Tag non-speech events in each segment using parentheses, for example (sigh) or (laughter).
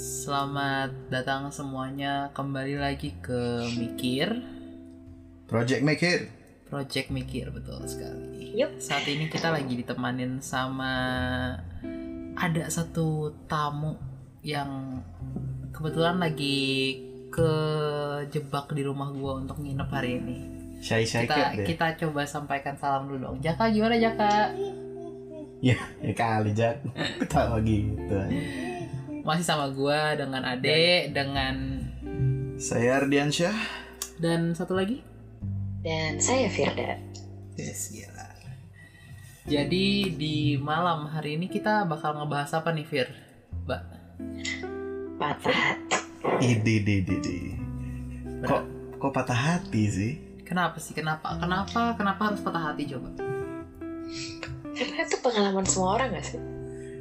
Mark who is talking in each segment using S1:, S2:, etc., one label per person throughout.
S1: Selamat datang semuanya kembali lagi ke Mikir
S2: Project Make It.
S1: Project Mikir betul sekali
S3: Yup.
S1: Saat ini kita lagi ditemanin sama Ada satu tamu yang kebetulan lagi kejebak di rumah gua untuk nginep hari ini
S2: Shy Shy Cat
S1: Kita,
S2: deh.
S1: kita coba sampaikan salam dulu dong Jaka gimana Jaka?
S2: Ya, ya kali Jack. Ketawa gitu.
S1: Masih sama gua dengan Ade, dengan
S2: Saya Ardian Syah.
S1: dan satu lagi
S3: Dan saya Firda.
S1: Yes, gila. Jadi di malam hari ini kita bakal ngebahas apa nih, Fir? Mbak,
S3: Patah hati.
S2: Ide ide ide. ide. Kok kok patah hati sih?
S1: kenapa sih? Kenapa? Kenapa? Kenapa harus patah hati coba?
S3: Karena itu pengalaman semua orang gak sih?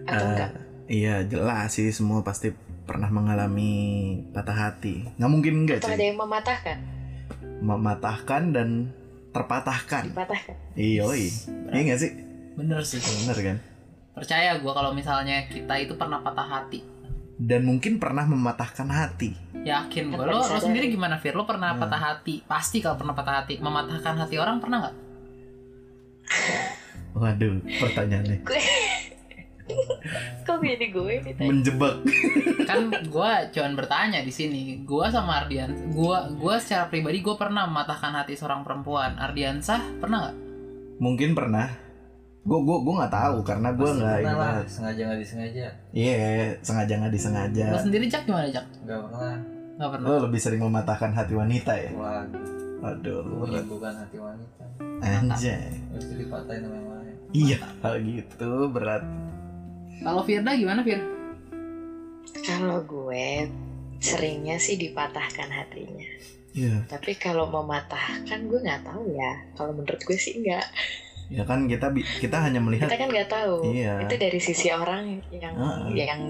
S3: Atau
S2: Eh,
S3: enggak?
S2: Iya jelas sih semua pasti pernah mengalami patah hati. Nggak mungkin enggak
S3: Atau ada
S2: sih.
S3: yang mematahkan?
S2: Mematahkan dan terpatahkan.
S3: Dipatahkan?
S2: Iyoi. Iya nggak sih?
S1: Bener sih.
S2: Bener kan?
S1: Percaya gua kalau misalnya kita itu pernah patah hati.
S2: Dan mungkin pernah mematahkan hati.
S1: Yakin gua. Lo,
S3: Tanpa
S1: lo
S3: disadari.
S1: sendiri gimana, Fir? Lo pernah
S2: Hmm.
S1: patah hati? Pasti kalau pernah patah hati. Mematahkan hati orang pernah nggak?
S2: Waduh, pertanyaannya
S3: (laughs) Kok gini gue ditanya?
S2: menjebak.
S1: Kan gua cuman bertanya di sini. Gua sama Ardian. Gua gua secara pribadi gua pernah mematahkan hati seorang perempuan. Ardiansah pernah nggak?
S2: Mungkin pernah. Gue gue gue nggak tahu karena gue
S4: Pasti
S2: nggak
S4: pernah
S2: ini
S4: lah,
S2: banget.
S4: sengaja nggak disengaja
S2: Iya, sengaja nggak disengaja.
S1: Lo sendiri Jack gimana, Jack?
S4: nggak pernah
S1: Nggak pernah.
S2: Lo lebih sering mematahkan hati wanita ya.
S4: lagu
S2: Aduh,
S4: menyembuhkan hati wanita
S2: anjay.
S4: harus dipatahin sama yang lain
S2: Iya, kalau gitu berat.
S1: Kalau Firda gimana Fir?
S3: Kalau gue seringnya sih dipatahkan hatinya.
S2: Iya,
S3: Tapi kalau mematahkan gue nggak tahu ya. Kalau menurut gue sih enggak.
S2: ya kan kita bi- kita hanya melihat.
S3: Kita kan nggak tahu.
S2: Iya.
S3: Itu dari sisi orang yang
S2: Ah. Hmm,
S3: yang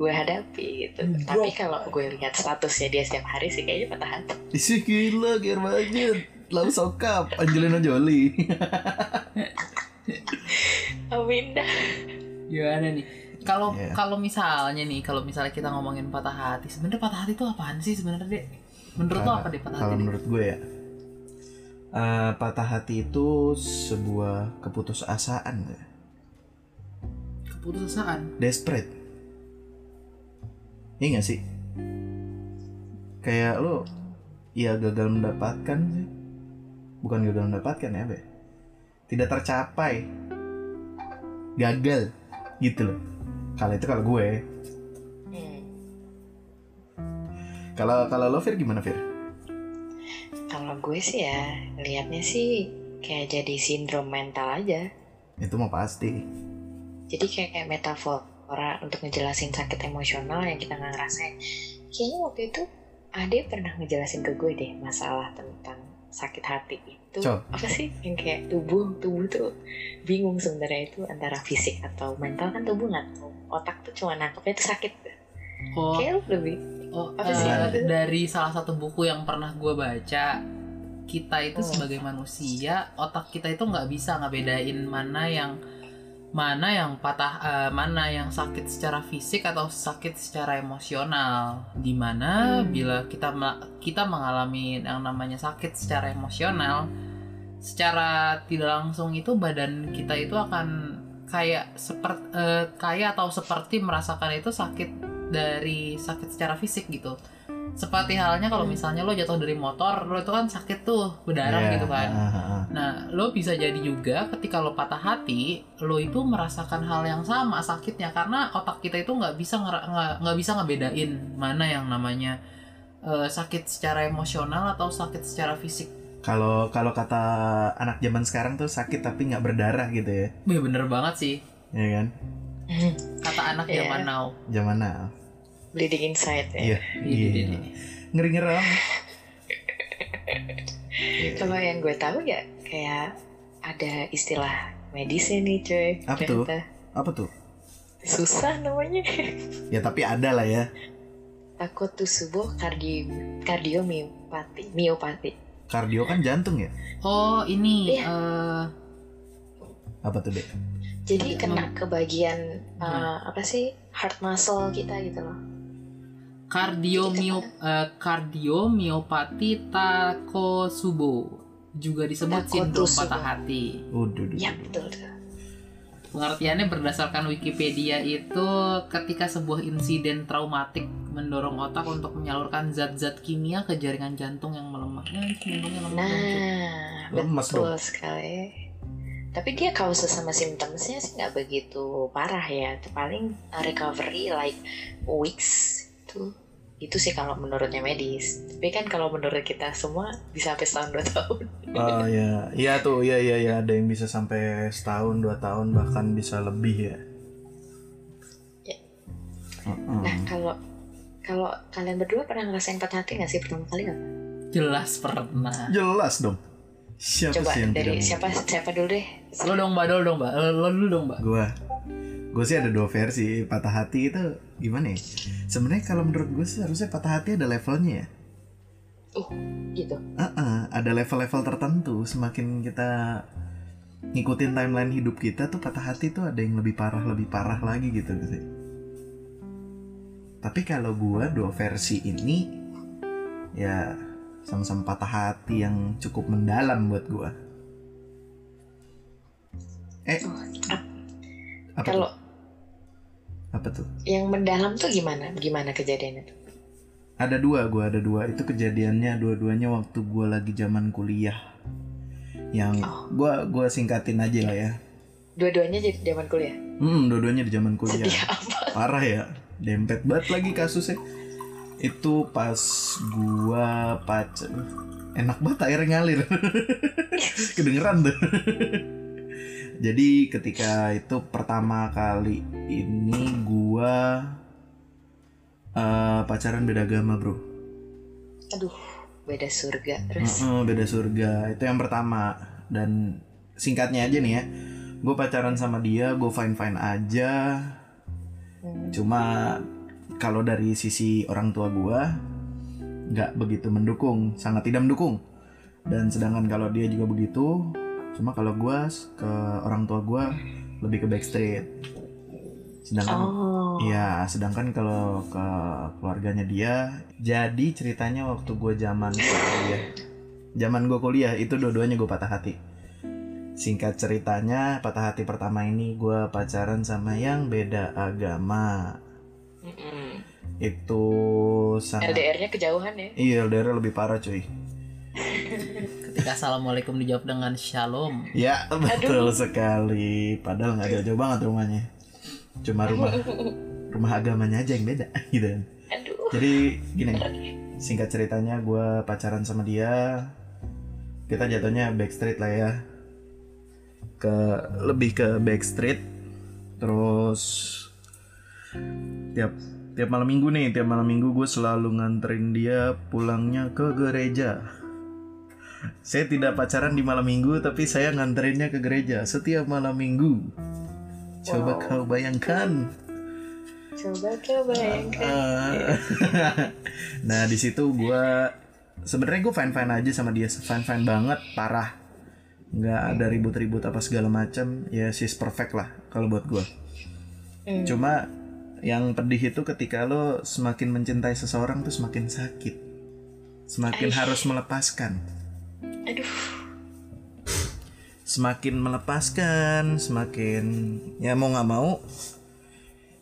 S3: gue hadapi gitu.
S2: Bro.
S3: Tapi kalau gue lihat statusnya dia setiap hari sih kayaknya patah hati.
S2: Isi gila, gear banget. Lalu sokap, Angelina
S4: (laughs)
S2: Jolie.
S3: Amin dah.
S1: Gimana nih? Kalau
S2: Iya.
S1: kalau misalnya nih, kalau misalnya kita ngomongin patah hati, sebenarnya patah hati itu apaan sih sebenarnya, Dek? Menurut lo
S2: Kalau-
S1: apa deh patah hati?
S2: kalau
S1: Dek?
S2: menurut gue ya, eh, patah hati itu sebuah keputusasaan, ya.
S1: Keputusasaan.
S2: desperate Iya gak sih? Kayak lo Ya gagal mendapatkan sih Bukan gagal mendapatkan ya Be Tidak tercapai Gagal Gitu loh Kalau itu kalau gue
S3: Hmm.
S2: Kalau kalau lo Fir gimana Fir?
S3: Kalau gue sih ya liatnya sih kayak jadi sindrom mental aja.
S2: Itu mau pasti
S3: Jadi kayak, kayak metafora untuk ngejelasin sakit emosional yang kita nggak ngerasain. Kayaknya waktu itu Ade pernah ngejelasin ke gue deh masalah tentang sakit hati itu
S2: Cok.
S3: apa sih yang kayak tubuh tubuh tuh bingung sebenarnya itu antara fisik atau mental kan tubuh nggak tahu otak tuh cuma nangkepnya itu sakit
S1: Oh,
S3: kayak lu lebih
S1: oh,
S3: apa
S1: eh,
S3: sih?
S1: dari salah satu buku yang pernah gue baca, kita itu
S3: Oh.
S1: sebagai manusia, otak kita itu nggak bisa ngebedain mana yang mana yang patah, eh, mana yang sakit secara fisik atau sakit secara emosional. Dimana
S3: Hmm.
S1: bila kita mela- kita mengalami yang namanya sakit secara emosional, secara tidak langsung itu badan kita itu akan kayak seperti kayak atau seperti merasakan itu sakit dari sakit secara fisik gitu seperti halnya kalau misalnya lo jatuh dari motor lo itu kan sakit tuh berdarah
S2: Hmm. Iya,
S1: gitu kan
S2: ah, ah, ah.
S1: nah lo bisa jadi juga ketika lo patah hati lo itu merasakan hal yang sama sakitnya karena otak kita itu nggak bisa ngera- nggak nggak bisa ngebedain mana yang namanya eh, sakit secara emosional atau sakit secara fisik
S2: Kalau kalau kata anak zaman sekarang tuh sakit tapi nggak berdarah gitu ya
S1: Wih, bener banget sih
S2: Iya kan?
S1: kata anak
S3: Iya.
S1: zaman now
S2: Zaman now
S3: bleeding inside ya.
S2: Iya
S1: Eh. Ini, ini,
S2: Gila.
S1: ini.
S2: Ngeri-ngerem
S3: Kalau yang gue tahu ya kayak ada istilah medisnya nih cuy.
S2: Apa tuh?
S3: Ternyata.
S2: Apa tuh?
S3: Susah namanya.
S2: Ya tapi ada lah ya
S3: Takut tuh subuh kardi kardiomiopati, miopati.
S2: Kardio kan jantung ya?
S1: oh ini
S3: Iya.
S1: eh,
S2: Apa tuh, Dek? Hmm.
S3: Jadi
S1: Iya,
S3: kena ke bagian eh, apa sih heart muscle kita gitu loh.
S1: Kardiomiop eh,
S3: Iya,
S1: kardiomiopati Takotsubo juga disebut sindrom
S3: Takotsubo.
S1: patah hati.
S2: Waduh, duh,
S3: Ya
S2: duh.
S3: betul tuh.
S1: Pengertiannya berdasarkan Wikipedia itu ketika sebuah insiden traumatik mendorong otak untuk menyalurkan zat-zat kimia ke jaringan jantung yang melemah. Ya, jantungnya lemah, cuy.
S3: Nah,
S2: Lemes
S3: betul sekali. Tapi dia causes sama symptomsnya sih nggak begitu parah ya. Paling recovery like weeks tuh itu sih kalau menurutnya medis. Tapi kan kalau menurut kita semua bisa sampai setahun dua tahun.
S2: Oh ya, iya tuh, iya iya iya ada yang bisa sampai setahun, dua tahun bahkan bisa lebih ya.
S3: Ya.
S2: Mm-mm.
S3: Nah kalau kalau kalian berdua pernah ngerasain patah hati nggak sih pertama kali nggak?
S1: Jelas pernah.
S2: Jelas dong. Siapa
S3: Coba
S2: sih yang
S3: dari
S2: tidak
S3: siapa siapa dulu deh.
S1: Lo dong, Mbak. Lo dong, Mbak. Eh, Lo, lo dulu dong, Mbak.
S2: Gua, gue sih ada dua versi patah hati itu gimana ya? Sebenarnya kalau menurut gue sih harusnya patah hati ada levelnya ya.
S3: Gitu.
S2: Heeh, ada level-level tertentu. Semakin kita ngikutin timeline hidup kita tuh patah hati tuh ada yang lebih parah, lebih parah lagi gitu gitu. Tapi kalau gua dua versi ini ya sama-sama patah hati yang cukup mendalam buat gua. Eh, apa tuh?
S3: Kalau
S2: apa tuh?
S3: yang mendalam tuh gimana? Gimana kejadiannya tuh?
S2: Ada dua, gua ada dua. Itu kejadiannya dua-duanya waktu gua lagi zaman kuliah. Yang
S3: Oh.
S2: gua gua singkatin aja lah ya.
S3: Dua-duanya jadi zaman kuliah.
S2: Hmm, dua-duanya di zaman kuliah.
S3: Sedih apa?
S2: Parah ya. Dempet banget lagi kasusnya. Itu pas gua pacar. Enak banget air ngalir. Kedengeran tuh. Jadi ketika itu pertama kali ini gua eh, pacaran beda agama, Bro.
S3: Aduh, beda surga. Terus
S2: Heeh, beda surga itu yang pertama dan singkatnya aja nih ya gue pacaran sama dia gue fine fine aja
S3: Hmm.
S2: cuma kalau dari sisi orang tua gue nggak begitu mendukung sangat tidak mendukung dan sedangkan kalau dia juga begitu cuma kalau gue ke orang tua gue lebih ke backstreet sedangkan
S3: Oh.
S2: Iya, sedangkan kalau ke keluarganya dia, jadi ceritanya waktu gue zaman kuliah, zaman gue kuliah itu dua-duanya gue patah hati. Singkat ceritanya, patah hati pertama ini gue pacaran sama yang beda agama. Iya.
S3: Mm-mm.
S2: Itu sangat
S3: LDR-nya kejauhan ya.
S2: Iya, LDR lebih parah cuy.
S1: Ketika assalamualaikum dijawab dengan shalom.
S2: Ya, betul sekali. Padahal nggak jauh-jauh banget rumahnya. Cuma rumah rumah agamanya aja yang beda (laughs) gitu. kan.
S3: Aduh.
S2: Jadi gini, singkat ceritanya gue pacaran sama dia, kita jatuhnya backstreet lah ya, ke lebih ke backstreet, terus tiap tiap malam minggu nih, tiap malam minggu gue selalu nganterin dia pulangnya ke gereja. Saya tidak pacaran di malam minggu, tapi saya nganterinnya ke gereja setiap malam minggu. Coba
S3: Wow.
S2: kau bayangkan.
S3: Coba coba ya, bayangkan.
S2: Eh,
S3: Iya.
S2: (laughs) nah di situ gue sebenarnya gue fine fine aja sama dia fine fine banget parah nggak ada ribut-ribut apa segala macam ya sis perfect lah kalau buat gue
S3: Hmm.
S2: cuma yang pedih itu ketika lo semakin mencintai seseorang tuh semakin sakit semakin
S3: Aish.
S2: harus melepaskan
S3: Aduh.
S2: semakin melepaskan, semakin ya mau nggak mau,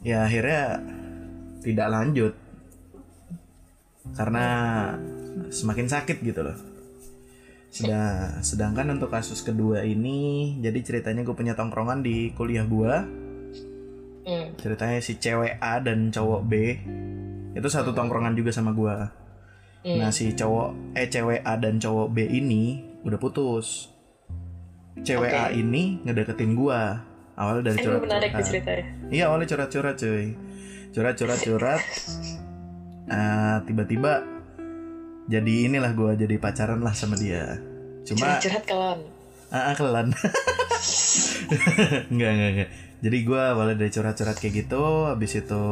S2: ya akhirnya tidak lanjut karena semakin sakit gitu loh. Sedang, sedangkan untuk kasus kedua ini, jadi ceritanya gue punya tongkrongan di kuliah gua
S3: Hmm.
S2: ceritanya si cewek A dan cowok B itu satu tongkrongan juga sama gua.
S3: Hmm.
S2: Nah si cowok eh cewek A dan cowok B ini udah putus. Cewek
S3: Oke.
S2: A ini ngedeketin gua awal dari
S3: Aduh
S2: curhat.
S3: menarik tuh ceritanya.
S2: Iya awalnya curhat-curhat cuy,
S3: (laughs)
S2: curhat-curhat-curhat. Ah, tiba-tiba jadi inilah gua jadi pacaran lah sama dia. Cuma
S3: Curhat-curhat kelon.
S2: ah ah, kelan. (laughs) Enggak, enggak, enggak. Jadi gue awalnya dari curhat-curhat kayak gitu, habis itu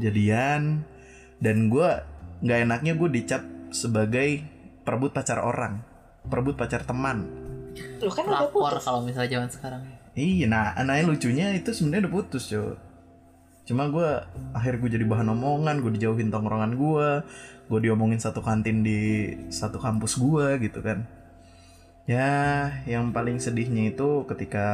S2: jadian, dan gue nggak enaknya gue dicap sebagai perebut pacar orang, perebut pacar teman.
S3: Lu kan udah
S1: Lapor
S3: putus.
S1: kalau misalnya zaman sekarang.
S2: Iya, nah, nah lucunya itu sebenarnya udah putus cuy. cuma gue akhir gue jadi bahan omongan gue dijauhin tongkrongan gue gue diomongin satu kantin di satu kampus gue gitu kan ya yang paling sedihnya itu ketika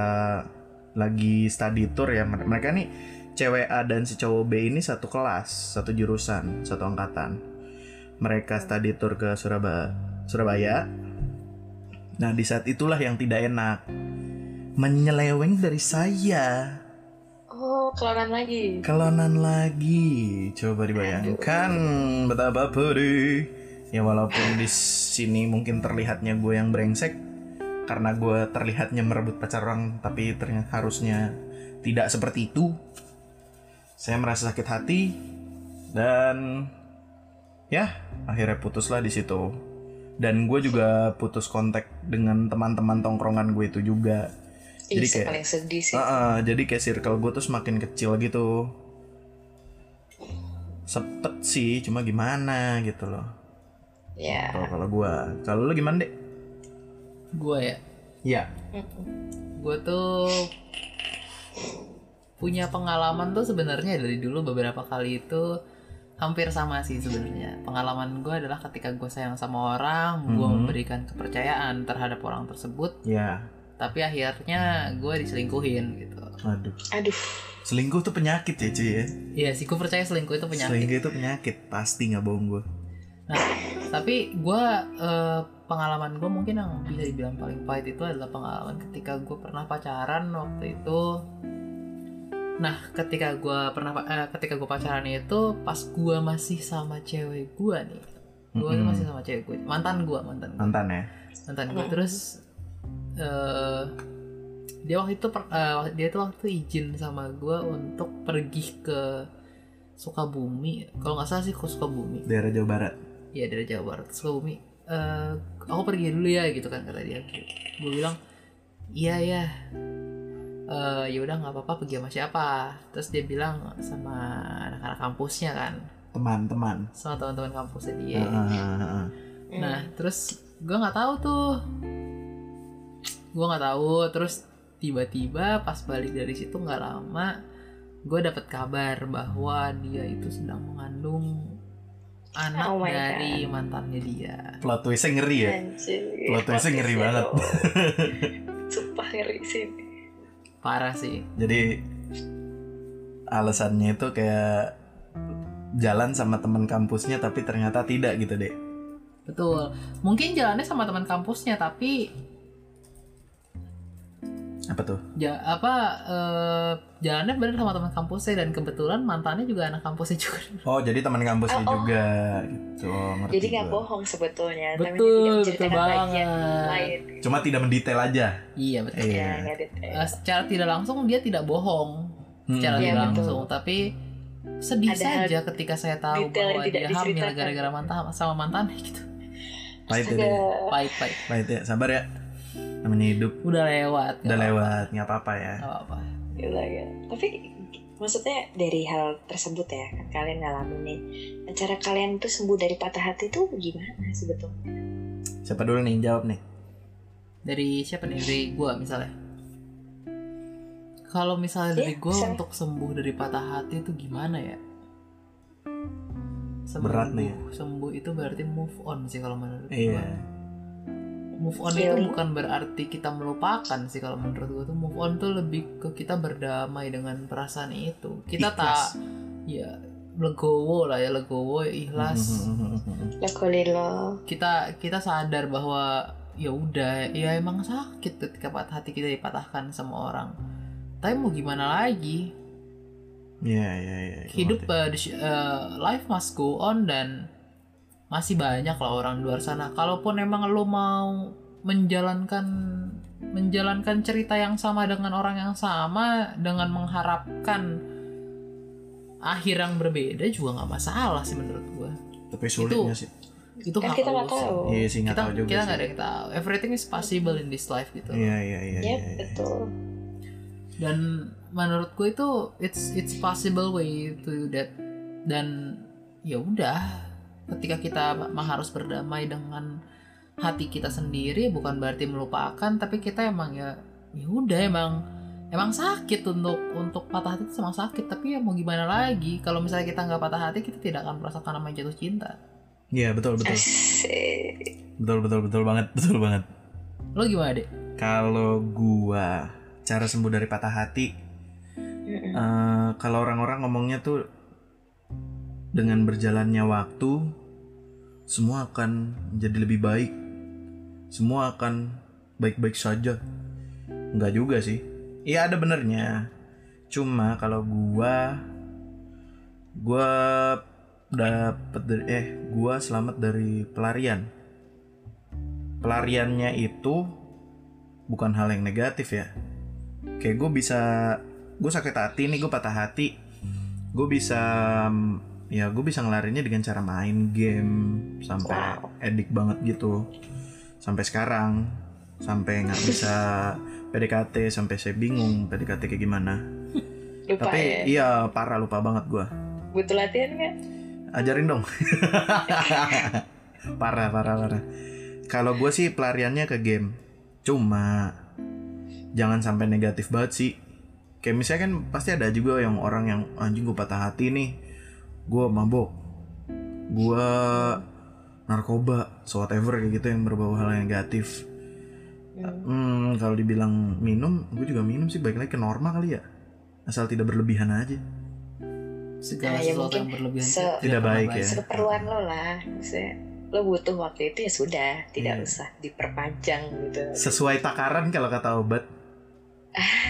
S2: lagi study tour ya mer- mereka nih cewek A dan si cowok B ini satu kelas satu jurusan satu angkatan mereka study tour ke Surabaya Surabaya nah di saat itulah yang tidak enak menyeleweng dari saya
S3: Oh, keluaran lagi.
S2: Kelonan lagi, coba dibayangkan betapa pedih. Ya walaupun di sini mungkin terlihatnya gue yang brengsek, karena gue terlihatnya merebut pacar orang, tapi ternyata harusnya tidak seperti itu. Saya merasa sakit hati dan ya akhirnya putuslah di situ. Dan gue juga putus kontak dengan teman-teman tongkrongan gue itu juga.
S3: Ih,
S2: Jadi
S3: sih,
S2: kayak-
S3: paling sedih sih.
S2: Ah, ah, jadi kayak circle gue tuh semakin kecil gitu. Sepet sih, cuma gimana gitu loh.
S3: Ya.
S2: Kalau kalau gue, kalau lu gimana deh?
S1: gue ya
S2: Iya.
S3: Mm-mm.
S1: gue tuh punya pengalaman tuh sebenarnya dari dulu beberapa kali itu hampir sama sih sebenarnya pengalaman gue adalah ketika gue sayang sama orang gue
S2: Mhm.
S1: memberikan kepercayaan terhadap orang tersebut
S2: Ya,
S1: tapi akhirnya gue diselingkuhin gitu
S2: aduh.
S3: Aduh.
S2: Selingkuh tuh penyakit ya cuy ya.
S1: Iya sih gue percaya selingkuh itu penyakit
S2: Selingkuh itu penyakit, pasti nggak bohong gue.
S1: tapi gue eh, pengalaman gue mungkin yang bisa dibilang paling pahit itu adalah pengalaman ketika gue pernah pacaran waktu itu nah ketika gue pernah pa- eh, ketika gue pacaran itu pas gue masih sama cewek gue nih gue tuh
S2: Mm-mm.
S1: masih sama cewek gue mantan gue mantan gue
S2: Mantan ya.
S1: mantan gue
S3: Mm.
S1: terus eh dia waktu itu per- eh, dia tuh waktu izin sama gue untuk pergi ke Sukabumi kalau nggak salah sih ke Sukabumi
S2: Daerah Jawa Barat.
S1: Iya dari Jawa Barat Terus ke Bumi "Eh, Aku pergi dulu ya gitu kan kata dia Gue bilang Iya ya Eh ya udah nggak apa-apa pergi sama siapa terus dia bilang sama anak-anak kampusnya kan
S2: Teman-teman.
S1: sama teman-teman kampusnya dia
S2: Ah, ah, ah, ah.
S3: Mm.
S1: Nah, terus gue nggak tahu tuh. Gue nggak tahu. Terus tiba-tiba pas balik dari situ nggak lama, gue dapet kabar bahwa dia itu sedang mengandung anak
S3: Oh my
S1: dari mantannya dia.
S2: Plot twistnya ngeri ya.
S3: Anjir.
S2: Plot twistnya ngeri (laughs) banget.
S3: Sumpah ngeri sih.
S1: Parah sih.
S2: Jadi alasannya itu kayak jalan sama teman kampusnya tapi ternyata tidak gitu deh.
S1: Betul. Mungkin jalannya sama teman kampusnya tapi
S2: Apa tuh?
S1: ja, apa eh, jalannya bener sama teman kampusnya dan kebetulan mantannya juga anak kampusnya juga.
S2: Oh jadi teman kampusnya
S3: Oh, oh.
S2: juga gitu oh, ngerti
S3: Jadi nggak
S2: gua.
S3: bohong sebetulnya, tapi dia tidak
S1: betul, betul
S3: menceritakan bagian
S1: banget.
S3: lain.
S2: Cuma tidak mendetail aja.
S1: Iya betul.
S2: Iya.
S3: Ya, nggak detail.
S1: Eh, secara tidak langsung dia tidak bohong
S2: Hmm.
S1: secara
S3: Iya,
S1: tidak
S3: betul.
S1: langsung tapi sedih
S3: Ada
S1: saja ketika saya tahu
S3: detail yang
S1: bahwa
S3: tidak
S1: dia hamil
S3: diceritakan.
S1: gara-gara mantan sama mantan gitu
S2: Pahit ya,
S3: Astaga.
S2: dia.
S1: pahit pahit
S2: Pahit ya. Sabar ya. Namanya hidup
S1: udah lewat
S2: udah lewat nggak apa-apa ya.
S1: apa apa
S3: Gila, gila. Gitu, ya. Tapi maksudnya dari hal tersebut ya, kan kalian ngalamin nih. Cara kalian tuh sembuh dari patah hati tuh gimana sebetulnya?
S2: Siapa dulu nih jawab nih?
S1: dari siapa nih dari gue misalnya kalau misalnya dari
S3: Iya,
S1: gue
S3: misalnya.
S1: untuk sembuh dari patah hati itu gimana ya sembuh,
S2: Berat nih ya.
S1: sembuh itu berarti move on sih kalau menurut
S2: Iya.
S1: gue move on
S3: Healing.
S1: itu bukan berarti kita melupakan sih kalau menurut gue tuh move on tuh lebih ke kita berdamai dengan perasaan itu kita
S2: (laughs) Ikhlas.
S1: tak ya legowo lah ya legowo
S2: Mm-hmm.
S1: ikhlas
S3: Lekoli lo.
S1: kita kita sadar bahwa ya udah ya emang sakit ketika pat- hati kita dipatahkan sama orang tapi mau gimana lagi
S2: Iya iya iya. gua
S1: hidup
S2: ngerti.
S1: uh, the sh- uh, life must go on dan masih banyak lah orang di luar sana kalaupun emang lo mau menjalankan menjalankan cerita yang sama dengan orang yang sama dengan mengharapkan akhir yang berbeda juga nggak masalah sih menurut gue
S2: Tapi sulitnya sih.
S1: itu
S3: Kan
S1: hak
S3: kita
S1: lo
S3: nggak
S1: sih.
S3: tahu.
S2: Iya sih nggak
S1: kita
S2: tahu juga
S1: kita
S2: sih.
S1: nggak ada yang tahu everything is possible in this life gitu
S2: Iya iya iya.
S3: Yep,
S2: iya, iya.
S3: Ya, betul.
S1: dan menurut gue itu it's it's possible way to do that dan ya udah ketika kita mah harus berdamai dengan hati kita sendiri bukan berarti melupakan tapi kita emang ya ya udah emang emang sakit untuk untuk patah hati itu emang sakit tapi ya mau gimana lagi kalau misalnya kita nggak patah hati kita tidak akan merasakan namanya jatuh cinta
S2: Iya betul betul
S3: Asik.
S2: betul betul betul banget betul banget.
S1: lo gimana deh
S2: Kalau gua cara sembuh dari patah hati,
S3: Mm-mm.
S2: eh, kalau orang-orang ngomongnya tuh dengan berjalannya waktu, semua akan menjadi lebih baik, semua akan baik-baik saja. Enggak juga sih. Iya ada benernya. Cuma kalau gua, gua dapet dari eh gua selamat dari pelarian. Pelariannya itu bukan hal yang negatif ya. Kayak gue bisa, gue sakit hati nih, gue patah hati. Gue bisa, mm, ya gue bisa ngelarinya dengan cara main game sampai
S3: Wow.
S2: edik banget gitu. Sampai sekarang, sampai nggak bisa PDKT, sampai saya bingung PDKT kayak gimana.
S3: Lupa
S2: Tapi
S3: ya.
S2: iya parah lupa banget gue.
S3: Butuh latihan kan?
S2: Ajarin dong. (laughs) parah parah parah. Kalau gue sih pelariannya ke game. Cuma jangan sampai negatif banget sih. Kayak misalnya kan pasti ada juga yang orang yang anjing gue patah hati nih. Gue mabok. Gue narkoba, so whatever kayak gitu yang berbau hal yang negatif.
S3: Hmm.
S2: Hmm, kalau dibilang minum, gue juga minum sih baik lagi ke norma kali ya. Asal tidak berlebihan aja.
S1: segala
S3: Ah, ya
S1: sesuatu
S3: mungkin
S1: yang berlebihan
S3: se-
S1: tidak
S2: Tidak
S1: pernah
S2: baik ya.
S3: Sekeperluan lo lah. Maksudnya, lo butuh waktu itu ya sudah. Tidak
S2: Iya.
S3: usah diperpanjang
S2: (laughs)
S3: gitu.
S2: Sesuai takaran kalau kata obat.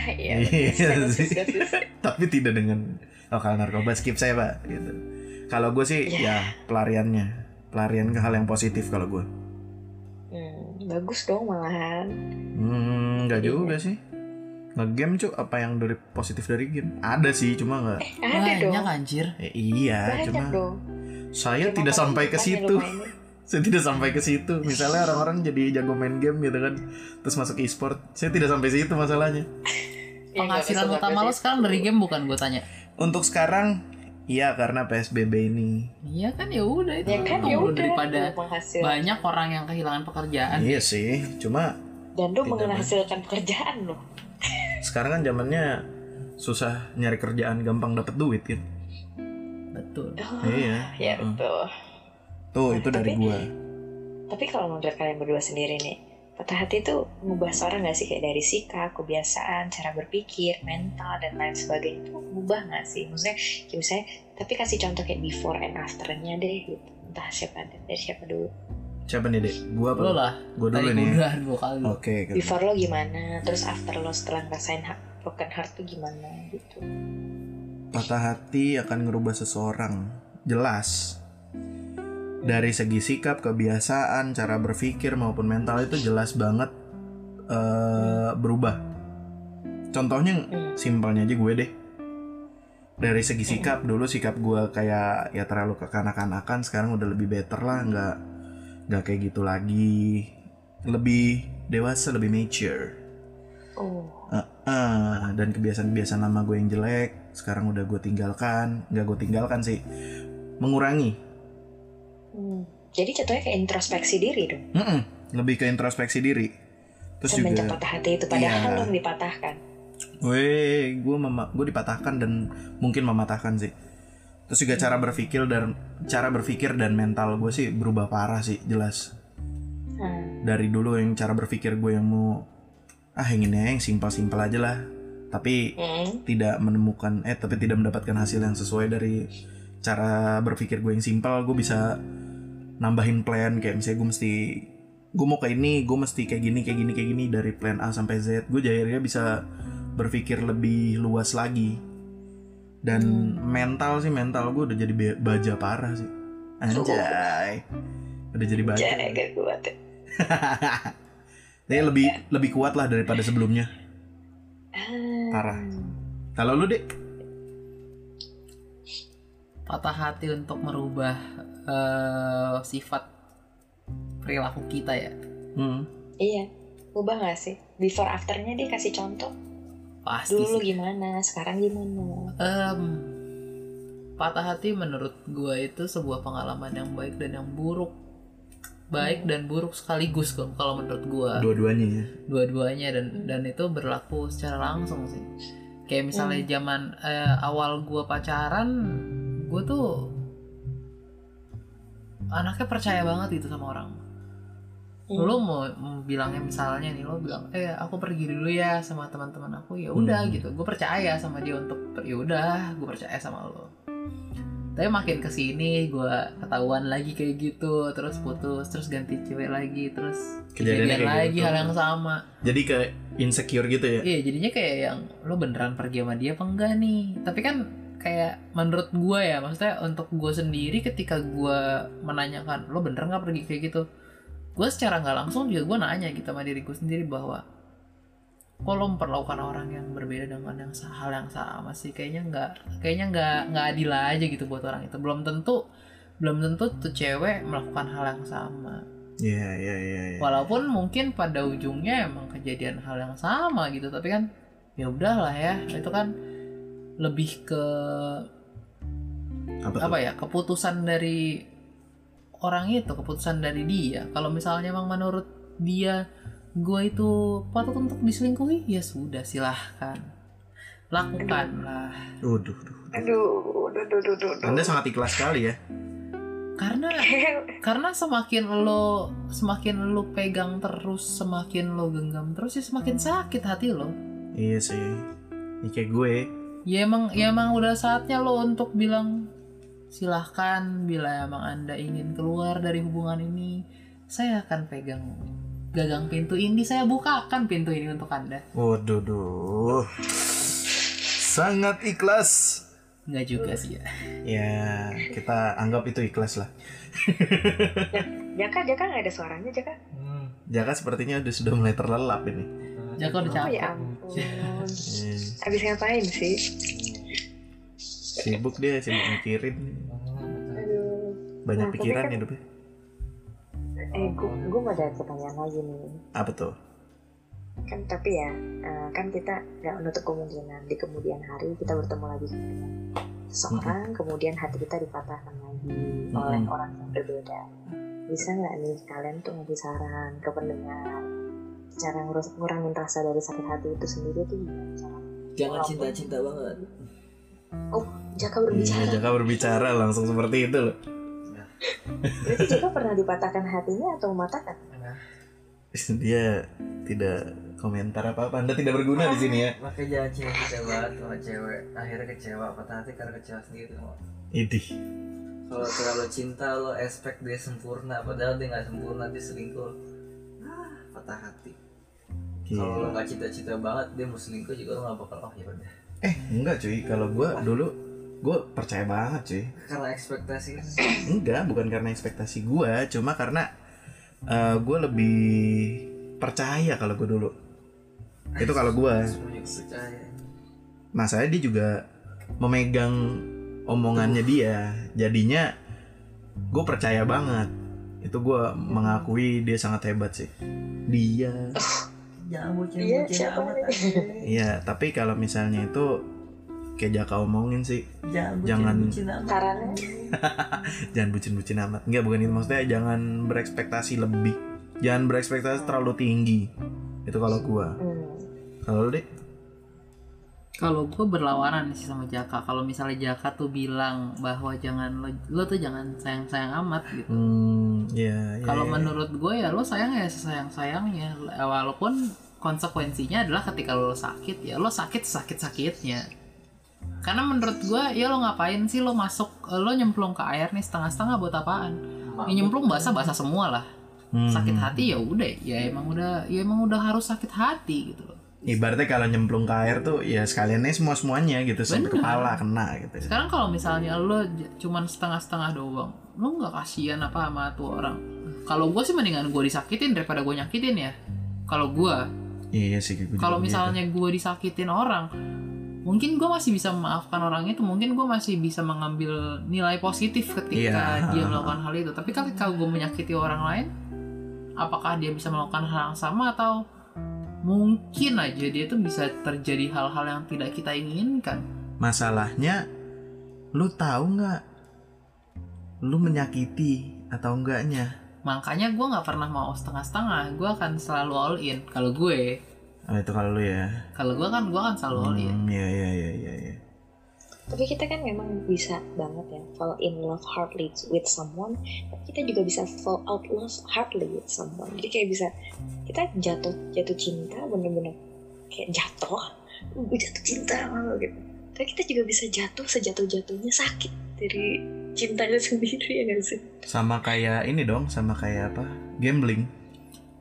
S3: Iya.
S2: Iya
S3: bagus,
S2: sih.
S3: bagus, bagus.
S2: tapi tidak dengan oh kalau narkoba skip saya pak gitu kalau gue sih
S3: Iya.
S2: ya pelariannya pelarian ke hal yang positif kalau gue
S3: Hmm, bagus dong malahan.
S2: hmm
S3: Iya.
S2: nggak juga sih ngegame cuy apa yang dari positif dari game ada sih cuma nggak
S3: Ada dong.
S1: banyak anjir
S2: Eh, iya
S3: Banyak
S2: cuma
S3: dong.
S2: saya
S3: Cuma
S2: tidak
S3: kalau
S2: sampai ke
S3: lupa, ya
S2: situ
S3: lupain.
S2: saya tidak sampai ke situ misalnya orang-orang jadi jago main game gitu kan terus masuk e-sport saya tidak sampai situ masalahnya
S3: Ya, nggak
S1: penghasilan
S3: usah
S1: utama lo
S3: bagus
S1: sekarang
S3: itu.
S1: dari game bukan gue tanya
S2: untuk sekarang iya karena psbb ini
S1: iya kan ya udah itu
S3: Ya kan
S1: untung
S3: ya
S1: lo
S3: udah. Iya.
S1: daripada
S3: lo menghasil-
S1: banyak orang yang kehilangan pekerjaan
S2: iya sih cuma
S3: Dan lo
S2: Tidak
S3: menghasilkan pekerjaan lo.
S2: sekarang kan zamannya susah nyari kerjaan gampang dapet duit kan
S1: betul
S3: Oh,
S2: iya Heeh.
S3: Ya betul.
S2: tuh itu dari
S3: Tapi-
S2: gua
S3: Tapi kalau menurut kalian berdua sendiri nih, patah hati itu ngubah seorang nggak sih kayak dari sikap, kebiasaan, cara berpikir, mental dan lain sebagainya itu ngubah nggak sih? Maksudnya, kayak misalnya, tapi kasih contoh kayak before and afternya deh gitu. Entah siapa deh, dari siapa dulu.
S2: siapa nih dek gua apa
S1: lo lah
S2: gua dulu
S1: tadi
S2: nih
S1: udah dua kali
S2: oke gitu.
S3: Before lo gimana, terus after lo setelah ngerasain ha- broken heart tuh gimana gitu.
S2: patah hati akan ngerubah seseorang jelas dari segi sikap kebiasaan cara berpikir maupun mental itu jelas banget eh, berubah contohnya
S3: Hmm.
S2: simpelnya aja gue deh dari segi sikap dulu sikap gue kayak ya terlalu kekanak-kanakan sekarang udah lebih better lah nggak nggak kayak gitu lagi lebih dewasa lebih mature
S3: Oh,
S2: Ah, dan kebiasaan-kebiasaan lama gue yang jelek sekarang udah gue tinggalkan nggak gue tinggalkan sih mengurangi
S3: hmm. jadi jatuhnya kayak introspeksi diri dong.
S2: Mm-mm, lebih ke introspeksi diri terus
S3: Semenjak
S2: juga
S3: patah hati itu padahal
S2: Iya.
S3: lo yang dipatahkan.
S2: Weh, gue mema- gue dipatahkan dan mungkin mematahkan sih. Terus juga cara berpikir dan cara berpikir dan mental gue sih berubah parah sih, jelas.
S3: Hmm.
S2: Dari dulu yang cara berpikir gue yang mau ah ingin yang simpel-simpel aja lah, tapi
S3: Hmm.
S2: tidak menemukan eh tapi tidak mendapatkan hasil yang sesuai dari cara berpikir gue yang simpel, gue bisa nambahin plan kayak misalnya gue mesti gue mau kayak ini, gue mesti kayak gini, kayak gini, kayak gini dari plan A sampai Z. Gue akhirnya bisa berpikir lebih luas lagi. Dan mental sih mental gue udah jadi be- baja parah sih. Anjay. Udah jadi baja.
S3: Jadi gak kuat ya.
S2: Dia lebih lebih kuat lah daripada sebelumnya.
S3: Ah.
S2: Parah. Kalau lu, Dek?
S1: patah hati untuk merubah eh, sifat perilaku kita ya
S2: Hmm.
S3: Iya, ubah gak sih? Before afternya dia kasih contoh
S1: pasti
S3: dulu gitu.
S1: sih.
S3: gimana, sekarang gimana.
S1: Em, patah hati menurut gue itu sebuah pengalaman yang baik dan yang buruk baik
S3: Hmm.
S1: dan buruk sekaligus kalau- kalau menurut gua
S2: dua-duanya ya
S1: dua-duanya dan
S2: Hmm.
S1: dan itu berlaku secara langsung sih kayak misalnya
S2: Hmm.
S1: zaman eh, awal gua pacaran gua tuh anaknya percaya banget gitu sama orang
S2: Hmm.
S3: Hmm.
S1: lo mau mau bilangnya misalnya nih lo bilang eh aku pergi dulu ya sama teman-teman aku ya udah
S2: Hmm.
S1: gitu gue percaya sama dia untuk ya udah gue percaya sama lo tapi makin kesini gue ketahuan lagi kayak gitu terus putus terus ganti cewek lagi terus
S2: Kejadiannya
S1: kejadian
S2: kayak
S1: lagi
S2: gitu.
S1: hal yang sama
S2: jadi kayak insecure gitu ya
S1: iya jadinya kayak yang lo beneran pergi sama dia apa enggak nih tapi kan kayak menurut gua ya maksudnya untuk gua sendiri ketika gua menanyakan lo bener nggak pergi kayak gitu gue secara nggak langsung juga gue nanya gitu sama diri gue sendiri bahwa kok lo memperlakukan orang yang berbeda dengan yang sa- hal yang sama sih kayaknya nggak kayaknya nggak nggak adil aja gitu buat orang itu belum tentu belum tentu tuh cewek melakukan hal yang sama
S2: iya iya iya iya.
S1: walaupun mungkin pada ujungnya emang kejadian hal yang sama gitu tapi kan ya udahlah ya itu kan lebih ke
S2: apa,
S1: apa
S2: tuh?
S1: ya keputusan dari orang itu keputusan dari dia kalau misalnya emang menurut dia gue itu patut untuk diselingkuhi ya sudah silahkan lakukanlah
S2: Waduh, duh, duh.
S3: Aduh, aduh, aduh, aduh, aduh.
S2: anda sangat ikhlas sekali ya
S1: karena karena semakin lo semakin lo pegang terus semakin lo genggam terus ya semakin sakit hati lo
S2: iya sih ini kayak gue
S1: ya emang ya emang udah saatnya lo untuk bilang silahkan bila emang anda ingin keluar dari hubungan ini saya akan pegang gagang pintu ini saya bukakan pintu ini untuk anda
S2: waduh duh. sangat ikhlas
S1: nggak juga sih ya
S2: ya kita anggap itu ikhlas lah
S3: Jaka, Jaka nggak ada suaranya, Jaka.
S4: Hmm.
S2: Jaka Ya kan sepertinya udah sudah mulai terlelap ini
S4: Nah,
S1: Jaka
S4: gitu.
S1: udah
S3: Oh
S1: capek.
S3: ya ampun.
S2: Iya.
S3: Habis ngapain sih?
S2: sibuk dia sibuk mikirin
S3: Aduh.
S2: banyak pikiran hidupnya
S3: Eh, gue, gue mau ada pertanyaan lagi nih.
S2: apa tuh
S3: Kan tapi ya, eh, kan kita nggak menutup kemungkinan di kemudian hari kita bertemu lagi dengan seseorang, kemudian hati kita dipatahkan lagi oleh
S2: Mm-mm.
S3: orang yang berbeda. Bisa nggak nih kalian tuh ngasih saran ke pendengar? Cara ngurus, ngurangin rasa dari sakit hati itu sendiri tuh gimana cara? Oh,
S4: Jangan cinta-cinta banget.
S3: Jaka
S2: iya
S3: berbicara.
S2: Jaka berbicara langsung seperti itu loh
S3: Berarti Jaka pernah dipatahkan hatinya atau mematahkan?
S2: dia tidak komentar apa apa anda tidak berguna di sini ya
S4: Makanya jangan cinta-cinta banget sama cewek. Akhirnya kecewa, patah hati karena kecewa sendiri. Mo.
S2: idih
S4: Kalau terlalu cinta lo expect dia sempurna, padahal dia nggak sempurna dia selingkuh. Ah, patah hati. Kalau lo
S2: Gila.
S4: nggak cinta-cinta banget dia mau selingkuh juga lo nggak bakal oh ya udah.
S2: eh enggak cuy kalau gue dulu gue percaya banget cuy
S4: Karena ekspektasi lo.
S2: enggak bukan karena ekspektasi gue cuma karena gue lebih percaya kalau gue dulu itu kalau gue
S4: Semua juga percaya.
S2: masalahnya dia juga memegang omongannya dia jadinya gue percaya banget itu gue mengakui dia sangat hebat sih dia
S3: Iya,
S4: Jangan bocil-bocil
S3: siapa
S4: amat.
S3: nih?
S4: Andre.
S2: iya tapi kalau misalnya itu kayak Jaka omongin sih
S4: Jangan
S2: Jangan.
S4: bocil-bocil amat.
S3: Sarannya?
S2: jangan bucin-bucin amat enggak bukan itu maksudnya jangan berekspektasi lebih jangan berekspektasi terlalu tinggi itu kalau gua
S3: Hmm.
S2: kalau lu deh
S1: kalau gue berlawanan sih sama Jaka kalau misalnya Jaka tuh bilang bahwa jangan lo, lo tuh jangan sayang sayang amat gitu
S2: hmm ya ya,
S1: Kalau
S2: ya.
S1: menurut gue ya lo sayang ya sayang sayangnya walaupun konsekuensinya adalah ketika lo sakit ya lo sakit sakit sakitnya. Karena menurut gue ya lo ngapain sih lo masuk lo nyemplung ke air nih setengah setengah buat apaan? Ya, nyemplung basah basah semua lah.
S2: Hmm.
S1: Sakit hati ya udah ya emang udah ya emang udah harus sakit hati gitu loh.
S2: ibaratnya kalau nyemplung ke air tuh ya sekaliannya semua semuanya gitu
S1: Bener.
S2: sampai kepala kena gitu
S1: Sekarang kalau misalnya lo j- cuman setengah-setengah doang, lo nggak kasihan apa sama tuh orang? Kalau gue sih mendingan gue disakitin daripada gue nyakitin ya. Kalau gue,
S2: iya sih gua juga
S1: kalau
S2: gitu.
S1: misalnya gue disakitin orang mungkin gue masih bisa memaafkan orang itu mungkin gue masih bisa mengambil nilai positif ketika
S2: Iya.
S1: dia melakukan hal itu tapi ketika gue menyakiti orang lain apakah dia bisa melakukan hal yang sama atau mungkin aja dia tuh bisa terjadi hal-hal yang tidak kita inginkan
S2: masalahnya lu tahu nggak lu menyakiti atau enggaknya
S1: makanya gue nggak pernah mau setengah-setengah gue akan selalu all in kalau gue
S2: Oh, itu kalau lu ya.
S1: kalau gue kan gue kan selalu all in
S2: Hmm, iya iya iya iya. iya.
S3: Tapi kita kan memang bisa banget ya fall in love hardly with someone, tapi kita juga bisa fall out love hardly with someone. Jadi kayak bisa kita jatuh jatuh cinta bener-bener kayak jatuh, gue jatuh cinta sama lo," gitu. Tapi kita juga bisa jatuh sejatuh jatuhnya sakit dari cintanya sendiri ya nggak sih?
S2: Sama kayak ini dong, sama kayak apa? Gambling.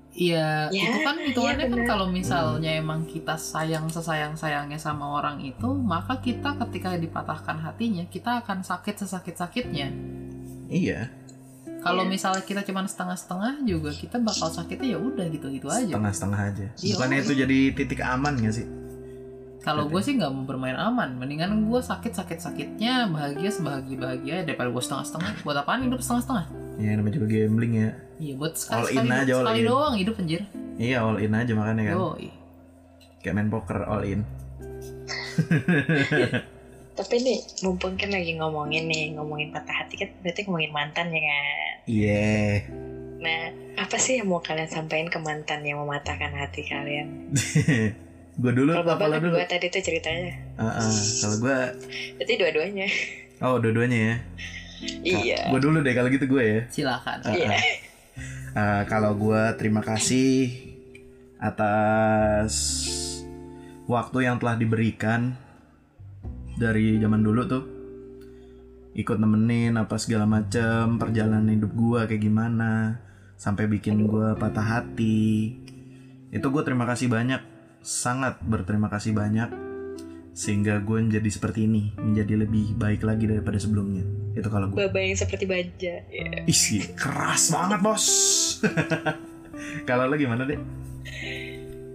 S1: Iya, itu
S3: Ya,
S1: kan hitungannya
S3: ya
S1: kan
S3: benar.
S1: kalau misalnya emang kita sayang sesayang sayangnya sama orang itu, maka kita ketika dipatahkan hatinya, kita akan sakit sesakit sakitnya.
S2: Iya,
S1: Kalau
S3: Iya.
S1: misalnya kita cuma setengah-setengah juga, kita bakal sakitnya ya udah gitu gitu aja.
S2: setengah-setengah aja.
S1: Iya.
S2: Bukannya itu jadi titik aman gak sih? iya,
S1: Kalau gue sih nggak mau bermain aman, mendingan gue sakit sakit sakitnya, bahagia sebahagia bahagia daripada gue setengah-setengah. Buat apaan hidup setengah-setengah?
S2: Ya namanya juga gambling ya.
S1: Iya buat sekali,
S2: All in
S1: sekali,
S2: aja, all
S1: sekali
S2: in.
S1: doang hidup anjir.
S2: Iya all in aja makanya kan.
S1: Yoi.
S2: Kayak main poker all in.
S3: Tapi nih mumpung kan lagi ngomongin nih ngomongin patah hati kan berarti ngomongin mantan ya kan?
S2: Iya. (laughs)
S3: Nah apa sih yang mau kalian sampaikan ke mantan yang mematahkan hati kalian?
S2: gue dulu
S3: Kalau
S2: apa lo
S3: bapak kan
S2: dulu?
S3: gue tadi tuh ceritanya,
S2: Heeh, kalau gue
S3: berarti dua-duanya.
S2: oh dua-duanya ya.
S3: Iya.
S2: Gue dulu deh kalau gitu gue ya.
S1: Silakan.
S2: Ah,
S3: Iya.
S2: ah. Ah, kalau gue terima kasih atas waktu yang telah diberikan dari zaman dulu tuh ikut nemenin apa segala macem perjalanan hidup gue kayak gimana sampai bikin gue patah hati itu gue terima kasih banyak sangat berterima kasih banyak sehingga gue menjadi seperti ini menjadi lebih baik lagi daripada sebelumnya itu kalau gue
S3: Baba yang seperti baja. Iya.
S2: Isi keras banget bos. (laughs) Kalau lo gimana deh?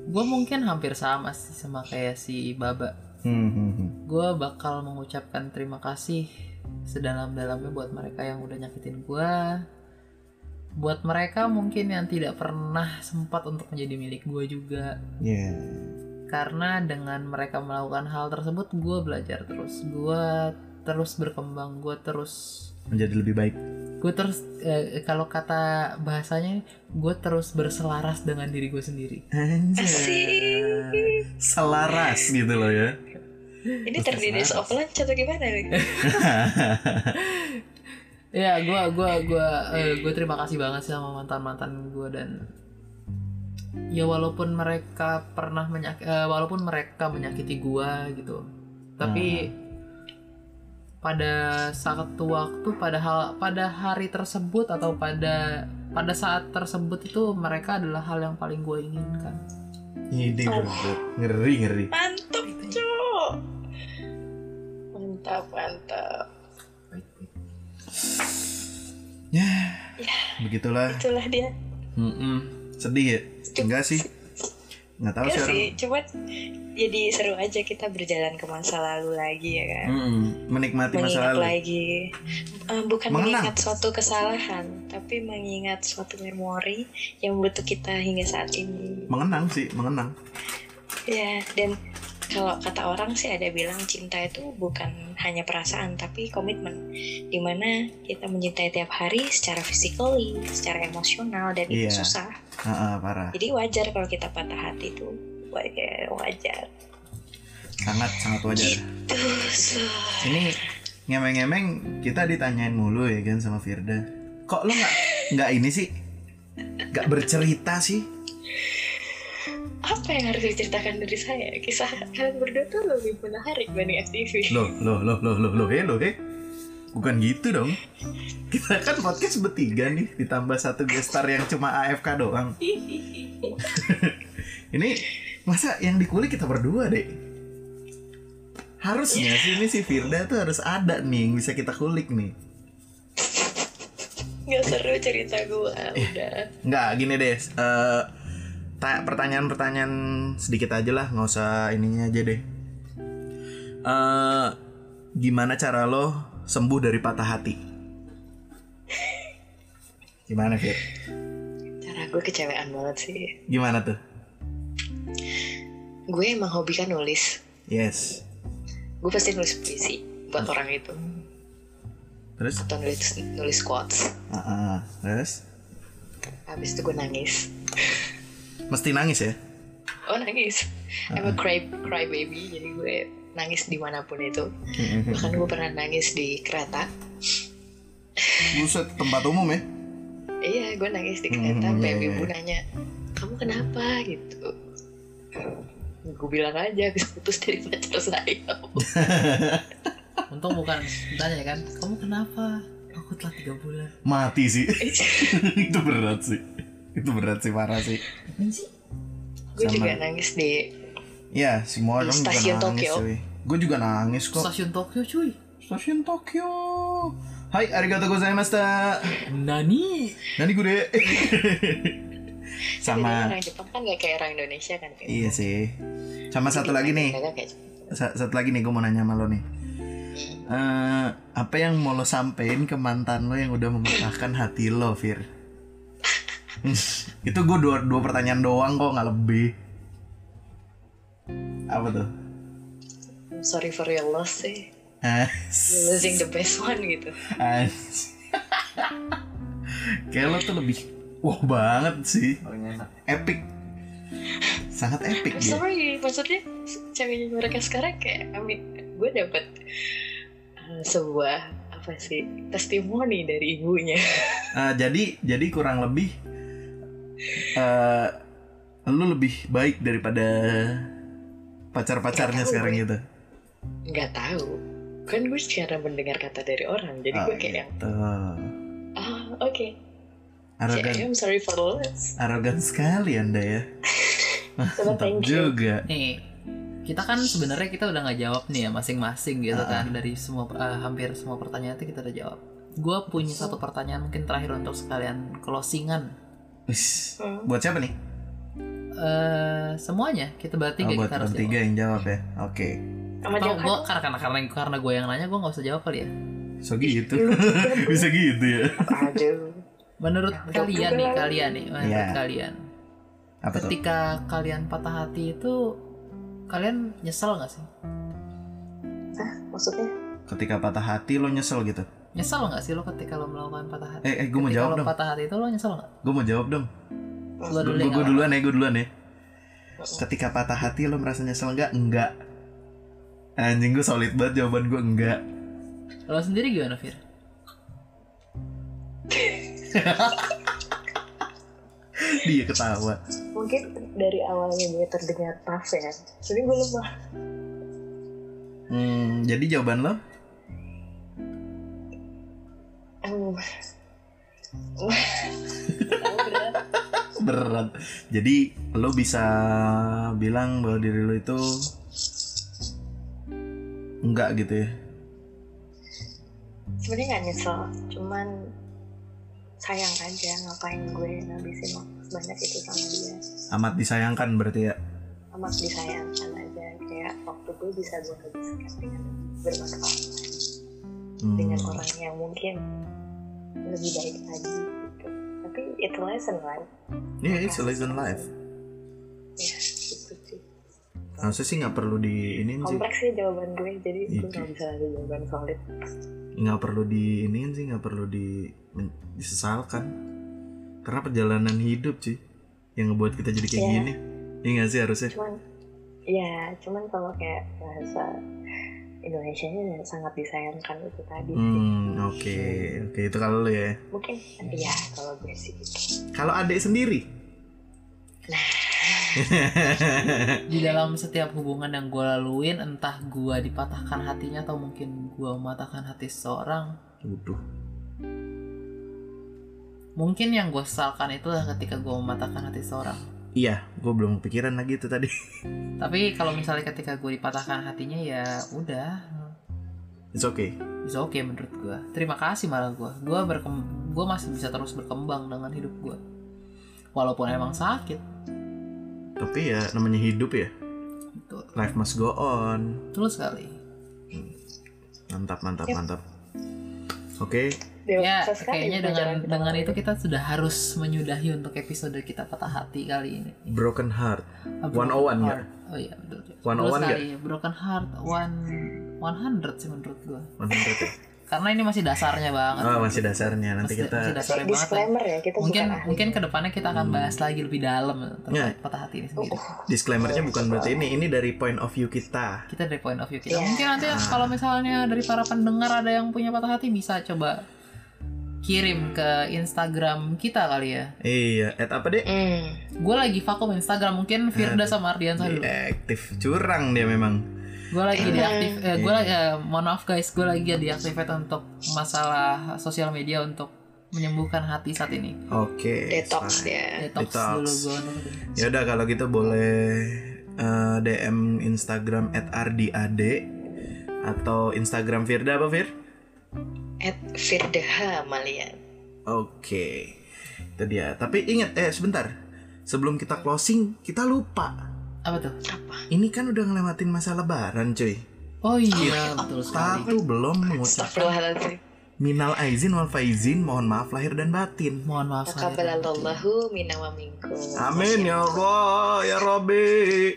S1: Gue mungkin hampir sama sih sama kayak si Baba.
S2: Hmm, hmm, hmm.
S1: gue bakal mengucapkan terima kasih sedalam-dalamnya buat mereka yang udah nyakitin gue buat mereka mungkin yang tidak pernah sempat untuk menjadi milik gue juga
S2: Ya,
S1: karena dengan mereka melakukan hal tersebut gue belajar terus gue terus berkembang gue terus
S2: menjadi lebih baik.
S1: gue terus eh, kalau kata bahasanya gue terus berselaras dengan diri gue sendiri
S2: Iya. Anjay.
S3: Asik.
S2: Selaras gitu loh ya.
S3: Ini
S2: Terus
S3: terdiri
S2: gimana?
S3: offline atau gimana? nih?
S1: Ya, gua gua gua eh, gua terima kasih banget sih sama mantan-mantan gua dan ya walaupun mereka pernah menyak eh, walaupun mereka menyakiti gua gitu. Tapi pada satu waktu pada hal pada hari tersebut atau pada pada saat tersebut itu mereka adalah hal yang paling gue inginkan.
S2: (laughs) Ide ngeri ngeri.
S3: Mantap, cok. Mantap, mantap.
S2: Ya, begitulah.
S3: Itulah dia.
S2: Mm-mm. Sedih ya? Enggak sih. Nggak tahu
S3: Gak
S2: sih. orang.
S3: sih, cuman jadi seru aja kita berjalan ke masa lalu lagi ya kan.
S2: Mm-mm. Menikmati masa
S3: mengingat
S2: lalu.
S3: lagi, Eh, bukan
S2: Mengenang.
S3: mengingat suatu kesalahan, tapi mengingat suatu memori yang membentuk kita hingga saat ini.
S2: Mengenang sih, mengenang.
S3: Ya, dan kalau kata orang sih ada bilang cinta itu bukan hanya perasaan tapi komitmen dimana kita mencintai tiap hari secara physically, secara emosional dan itu
S2: Iya.
S3: susah.
S2: Ah, ah, parah.
S3: Jadi wajar kalau kita patah hati itu wajar, wajar.
S2: Sangat sangat
S3: Iya.
S2: wajar.
S3: Terus
S2: ini ngemeng-ngemeng kita ditanyain mulu ya kan sama Firda kok lo nggak nggak ini sih nggak bercerita sih
S3: apa yang harus diceritakan dari saya? Kisah kalian berdua tuh lebih menarik dibanding FTV.
S2: loh loh loh loh loh loh heh loh heh bukan gitu dong kita kan podcast bertiga nih ditambah satu gestar yang cuma AFK doang (laughs) ini masa yang dikulik kita berdua deh harusnya sih ini si Firda tuh harus ada nih yang bisa kita kulik nih
S3: Nggak seru cerita gua, udah.
S2: Nggak, gini deh. eh, ta- pertanyaan-pertanyaan sedikit aja lah, nggak usah ininya aja deh. eh gimana cara lo sembuh dari patah hati? Gimana, Fir?
S3: Cara gue kecewean banget sih.
S2: Gimana tuh?
S3: Gue emang hobi kan nulis.
S2: Yes.
S3: gue pasti nulis puisi buat orang itu
S2: Terus?
S3: atau nulis nulis quotes
S2: Ah, ah, terus?
S3: Habis itu gue nangis.
S2: Mesti nangis ya?
S3: Oh nangis. I'm a cry, cry baby, jadi gue nangis dimanapun itu. Bahkan gue pernah nangis di kereta.
S2: Buset, tempat umum ya?
S3: Iya, gue nangis di kereta.
S2: Hmm,
S3: sampai
S2: iya, iya,
S3: ibu
S2: iya.
S3: nanya, kamu kenapa gitu? Gue bilang aja habis putus dari pacar saya.
S1: Untung bukan tanya kan, kamu kenapa? Aku telah tiga bulan.
S2: Mati sih. (laughs) itu berat sih. Itu berat sih, parah sih.
S3: gue
S2: Sama.
S3: juga nangis di
S2: Ya, semua orang juga
S3: Stasiun
S2: nangis
S3: Tokyo.
S2: cuy. Gue juga nangis kok.
S1: Stasiun Tokyo cuy.
S2: Stasiun Tokyo. Hai, arigatou gozaimashita.
S1: Nani?
S2: Nani gure.
S3: Jadi
S2: Sama
S3: orang Jepang kan gak kayak orang Indonesia kan Vin?
S2: iya sih. Sama satu
S3: Jadi
S2: lagi nih.
S3: mereka kayak
S2: Sa- satu lagi nih gue mau nanya sama lo nih. Eh, apa yang mau lo sampein ke mantan lo yang udah mematahkan hati lo, Fir? (laughs) itu gue dua, dua pertanyaan doang kok nggak lebih. Apa tuh?
S3: I'm sorry for your loss sih
S2: Hah? Eh,
S3: You're losing the best one gitu
S2: Anjing. (laughs) Kayak lo tuh lebih wah banget sih,
S4: Paling enak.
S2: epic, sangat epic
S3: I'm
S2: dia.
S3: sorry maksudnya ceweknya mereka sekarang kayak I mean, gue dapet uh, sebuah apa sih testimoni dari ibunya
S2: Eh, jadi jadi kurang lebih eh lu lebih baik daripada pacar-pacarnya
S3: Nggak tahu
S2: sekarang
S3: gue.
S2: gitu.
S3: nggak tahu kan gue secara mendengar kata dari orang jadi
S2: Oh,
S3: gue kayak yang
S2: gitu.
S3: ah oke
S2: Arogan,
S3: I'm sorry for the loss
S2: arogan sekali anda ya.
S3: Coba
S2: Mantap
S3: thank you
S2: juga.
S1: Nih, kita kan sebenarnya kita udah nggak jawab nih ya masing-masing gitu
S2: Ah.
S1: kan dari semua eh, hampir semua pertanyaan itu kita udah jawab. Gue punya satu pertanyaan mungkin terakhir untuk sekalian closingan.
S2: Wis.
S3: Hmm.
S2: Buat siapa nih?
S1: eh semuanya kita bertiga
S2: Oh, buat
S1: kita harus
S2: bertiga
S1: jawab.
S2: yang jawab ya. Oke.
S3: sama kan?
S1: Atau
S3: jawaban
S1: gue karena karena karena, karena gue yang nanya gue nggak usah jawab kali ya.
S2: So gitu. (laughs) Bisa gitu ya.
S3: aja
S1: Menurut
S3: Jawab
S1: kalian
S3: juga
S1: nih
S3: lah.
S1: kalian nih menurut
S2: Iya.
S1: kalian
S2: Apa tuh?
S1: ketika kalian patah hati itu kalian nyesel nggak sih?
S3: maksudnya
S2: Ketika patah hati lo nyesel gitu.
S1: Nyesel nggak sih lo ketika lo melakukan patah hati?
S2: Eh, eh gue mau
S1: Ketika
S2: jawab
S1: lo
S2: dong.
S1: patah hati itu lo nyesel nggak?
S2: Gue mau jawab dong.
S1: Lo dulu
S2: Gue
S1: yang awal.
S2: duluan ya, gue duluan ya. Ketika patah hati lo merasa nyesel nggak? Enggak. Anjing gue solid banget jawaban gue enggak.
S1: Lo sendiri gimana Fir?
S2: (laughs) Dia ketawa.
S3: mungkin dari awalnya gue terdengar tough ya tapi gue lemah
S2: Hmm, jadi jawaban lo?
S3: Em,
S2: berat jadi lo bisa bilang bahwa diri lo itu enggak gitu ya
S3: sebenarnya nggak nyesel cuman sayang aja ngapain gue ngabisin waktu sebanyak itu sama dia
S2: amat disayangkan berarti ya
S3: amat disayangkan aja kayak waktu gue bisa gue habiskan dengan bermanfaat
S2: Hmm.
S3: dengan orang yang mungkin lebih baik lagi gitu. tapi itu lesson right
S2: Iya, it's a lesson life
S3: ya gitu sih
S2: harusnya sih nggak perlu di ini sih
S3: kompleks sih jawaban gue jadi gue
S2: Itu.
S3: nggak bisa lagi jawaban solid
S2: nggak perlu di ini sih nggak perlu di men- disesalkan karena perjalanan hidup sih yang ngebuat kita jadi kayak
S3: Iya.
S2: gini Iya nggak sih harusnya
S3: cuman ya cuman kalau kayak bahasa Indonesia nya sangat disayangkan itu tadi sih.
S2: hmm oke oke itu kalau lo ya
S3: mungkin ya kalau gue sih gitu.
S2: kalau adik sendiri
S1: di dalam setiap hubungan yang gue laluin entah gue dipatahkan hatinya atau mungkin gue mematahkan hati seseorang
S2: Waduh.
S1: mungkin yang gue sesalkan itulah ketika gue mematahkan hati seseorang
S2: Iya, gue belum kepikiran lagi itu tadi. (laughs)
S1: tapi kalau misalnya ketika gue dipatahkan hatinya ya udah
S2: It's okay.
S1: bisa oke menurut gue terima kasih malah gue gue berkem gue masih bisa terus berkembang dengan hidup gue walaupun emang sakit
S2: Tapi ya namanya hidup ya.
S1: gitu
S2: Life must go on.
S1: betul sekali
S2: Mantap, mantap,
S3: Yep.
S2: mantap. Oke,
S1: ya
S3: Dewasa sekali ya
S1: kayaknya
S3: pelajaran
S1: dengan
S3: kita.
S1: dengan itu kita sudah harus menyudahi untuk episode kita patah hati kali ini
S2: broken heart.
S1: A
S2: 101 nggak?
S1: heart. Oh iya betul. betul.
S2: 101
S1: Betul
S2: nggak?
S1: sekali. Broken heart one 100 sih menurut gua. (laughs)
S2: 100 ya.
S1: karena ini masih dasarnya banget.
S2: Oh, masih dasarnya. Nanti
S1: Masih- masih
S2: kita
S1: dasarnya banget.
S3: disclaimer ya kita
S1: mungkin
S3: bukan ahli.
S1: mungkin kedepannya kita akan
S2: Hmm.
S1: bahas lagi lebih dalam tentang
S2: Ya.
S1: patah hati ini
S3: Uh,
S1: sendiri.
S3: uh,
S2: disclaimernya bukan berarti ini ini dari point of view kita.
S1: Kita dari point of view kita.
S3: Ya.
S1: Mungkin nanti
S2: Ah.
S1: kalau misalnya dari para pendengar ada yang punya patah hati bisa coba kirim ke Instagram kita kali ya.
S2: Iya, at apa deh?
S3: hmm,
S1: Gue lagi vakum Instagram mungkin
S2: Ah.
S1: Firda sama Ardian
S2: Iya.
S1: dulu.
S2: Aktif curang dia memang.
S1: Gue lagi
S3: Hmm.
S1: diaktif, eh, gue
S2: Iya.
S1: lagi, eh, mohon maaf guys, gue lagi diaktifkan untuk masalah sosial media untuk menyembuhkan hati saat ini.
S2: Oke.
S3: detox
S2: fine.
S3: dia
S1: Detox,
S2: Detox.
S1: dulu gue.
S2: Ya udah kalau gitu boleh eh, DM Instagram @ardad atau Instagram Firda apa Fir?
S3: at Firdeha Malian
S2: Oke. Itu dia. Tapi ingat eh sebentar. Sebelum kita closing, kita lupa.
S1: Apa tuh?
S3: apa
S2: Ini kan udah ngelewatin masa lebaran, cuy.
S1: Oh iya, betul sekali.
S2: Satu belum mengucapkan
S3: Astagfirullahaladzim
S2: minal aizin wal faizin, mohon maaf lahir dan batin.
S1: Mohon maaf. saya-
S3: Takabalallahu minna wa minkum
S2: Amin ya Allah ya Robbi.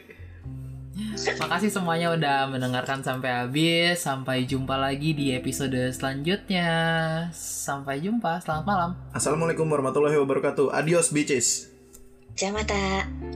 S1: Makasih semuanya udah mendengarkan sampai habis. Sampai jumpa lagi di episode selanjutnya. Sampai jumpa. Selamat malam.
S2: Assalamualaikum warahmatullahi wabarakatuh. Adios bitches.
S3: Jamata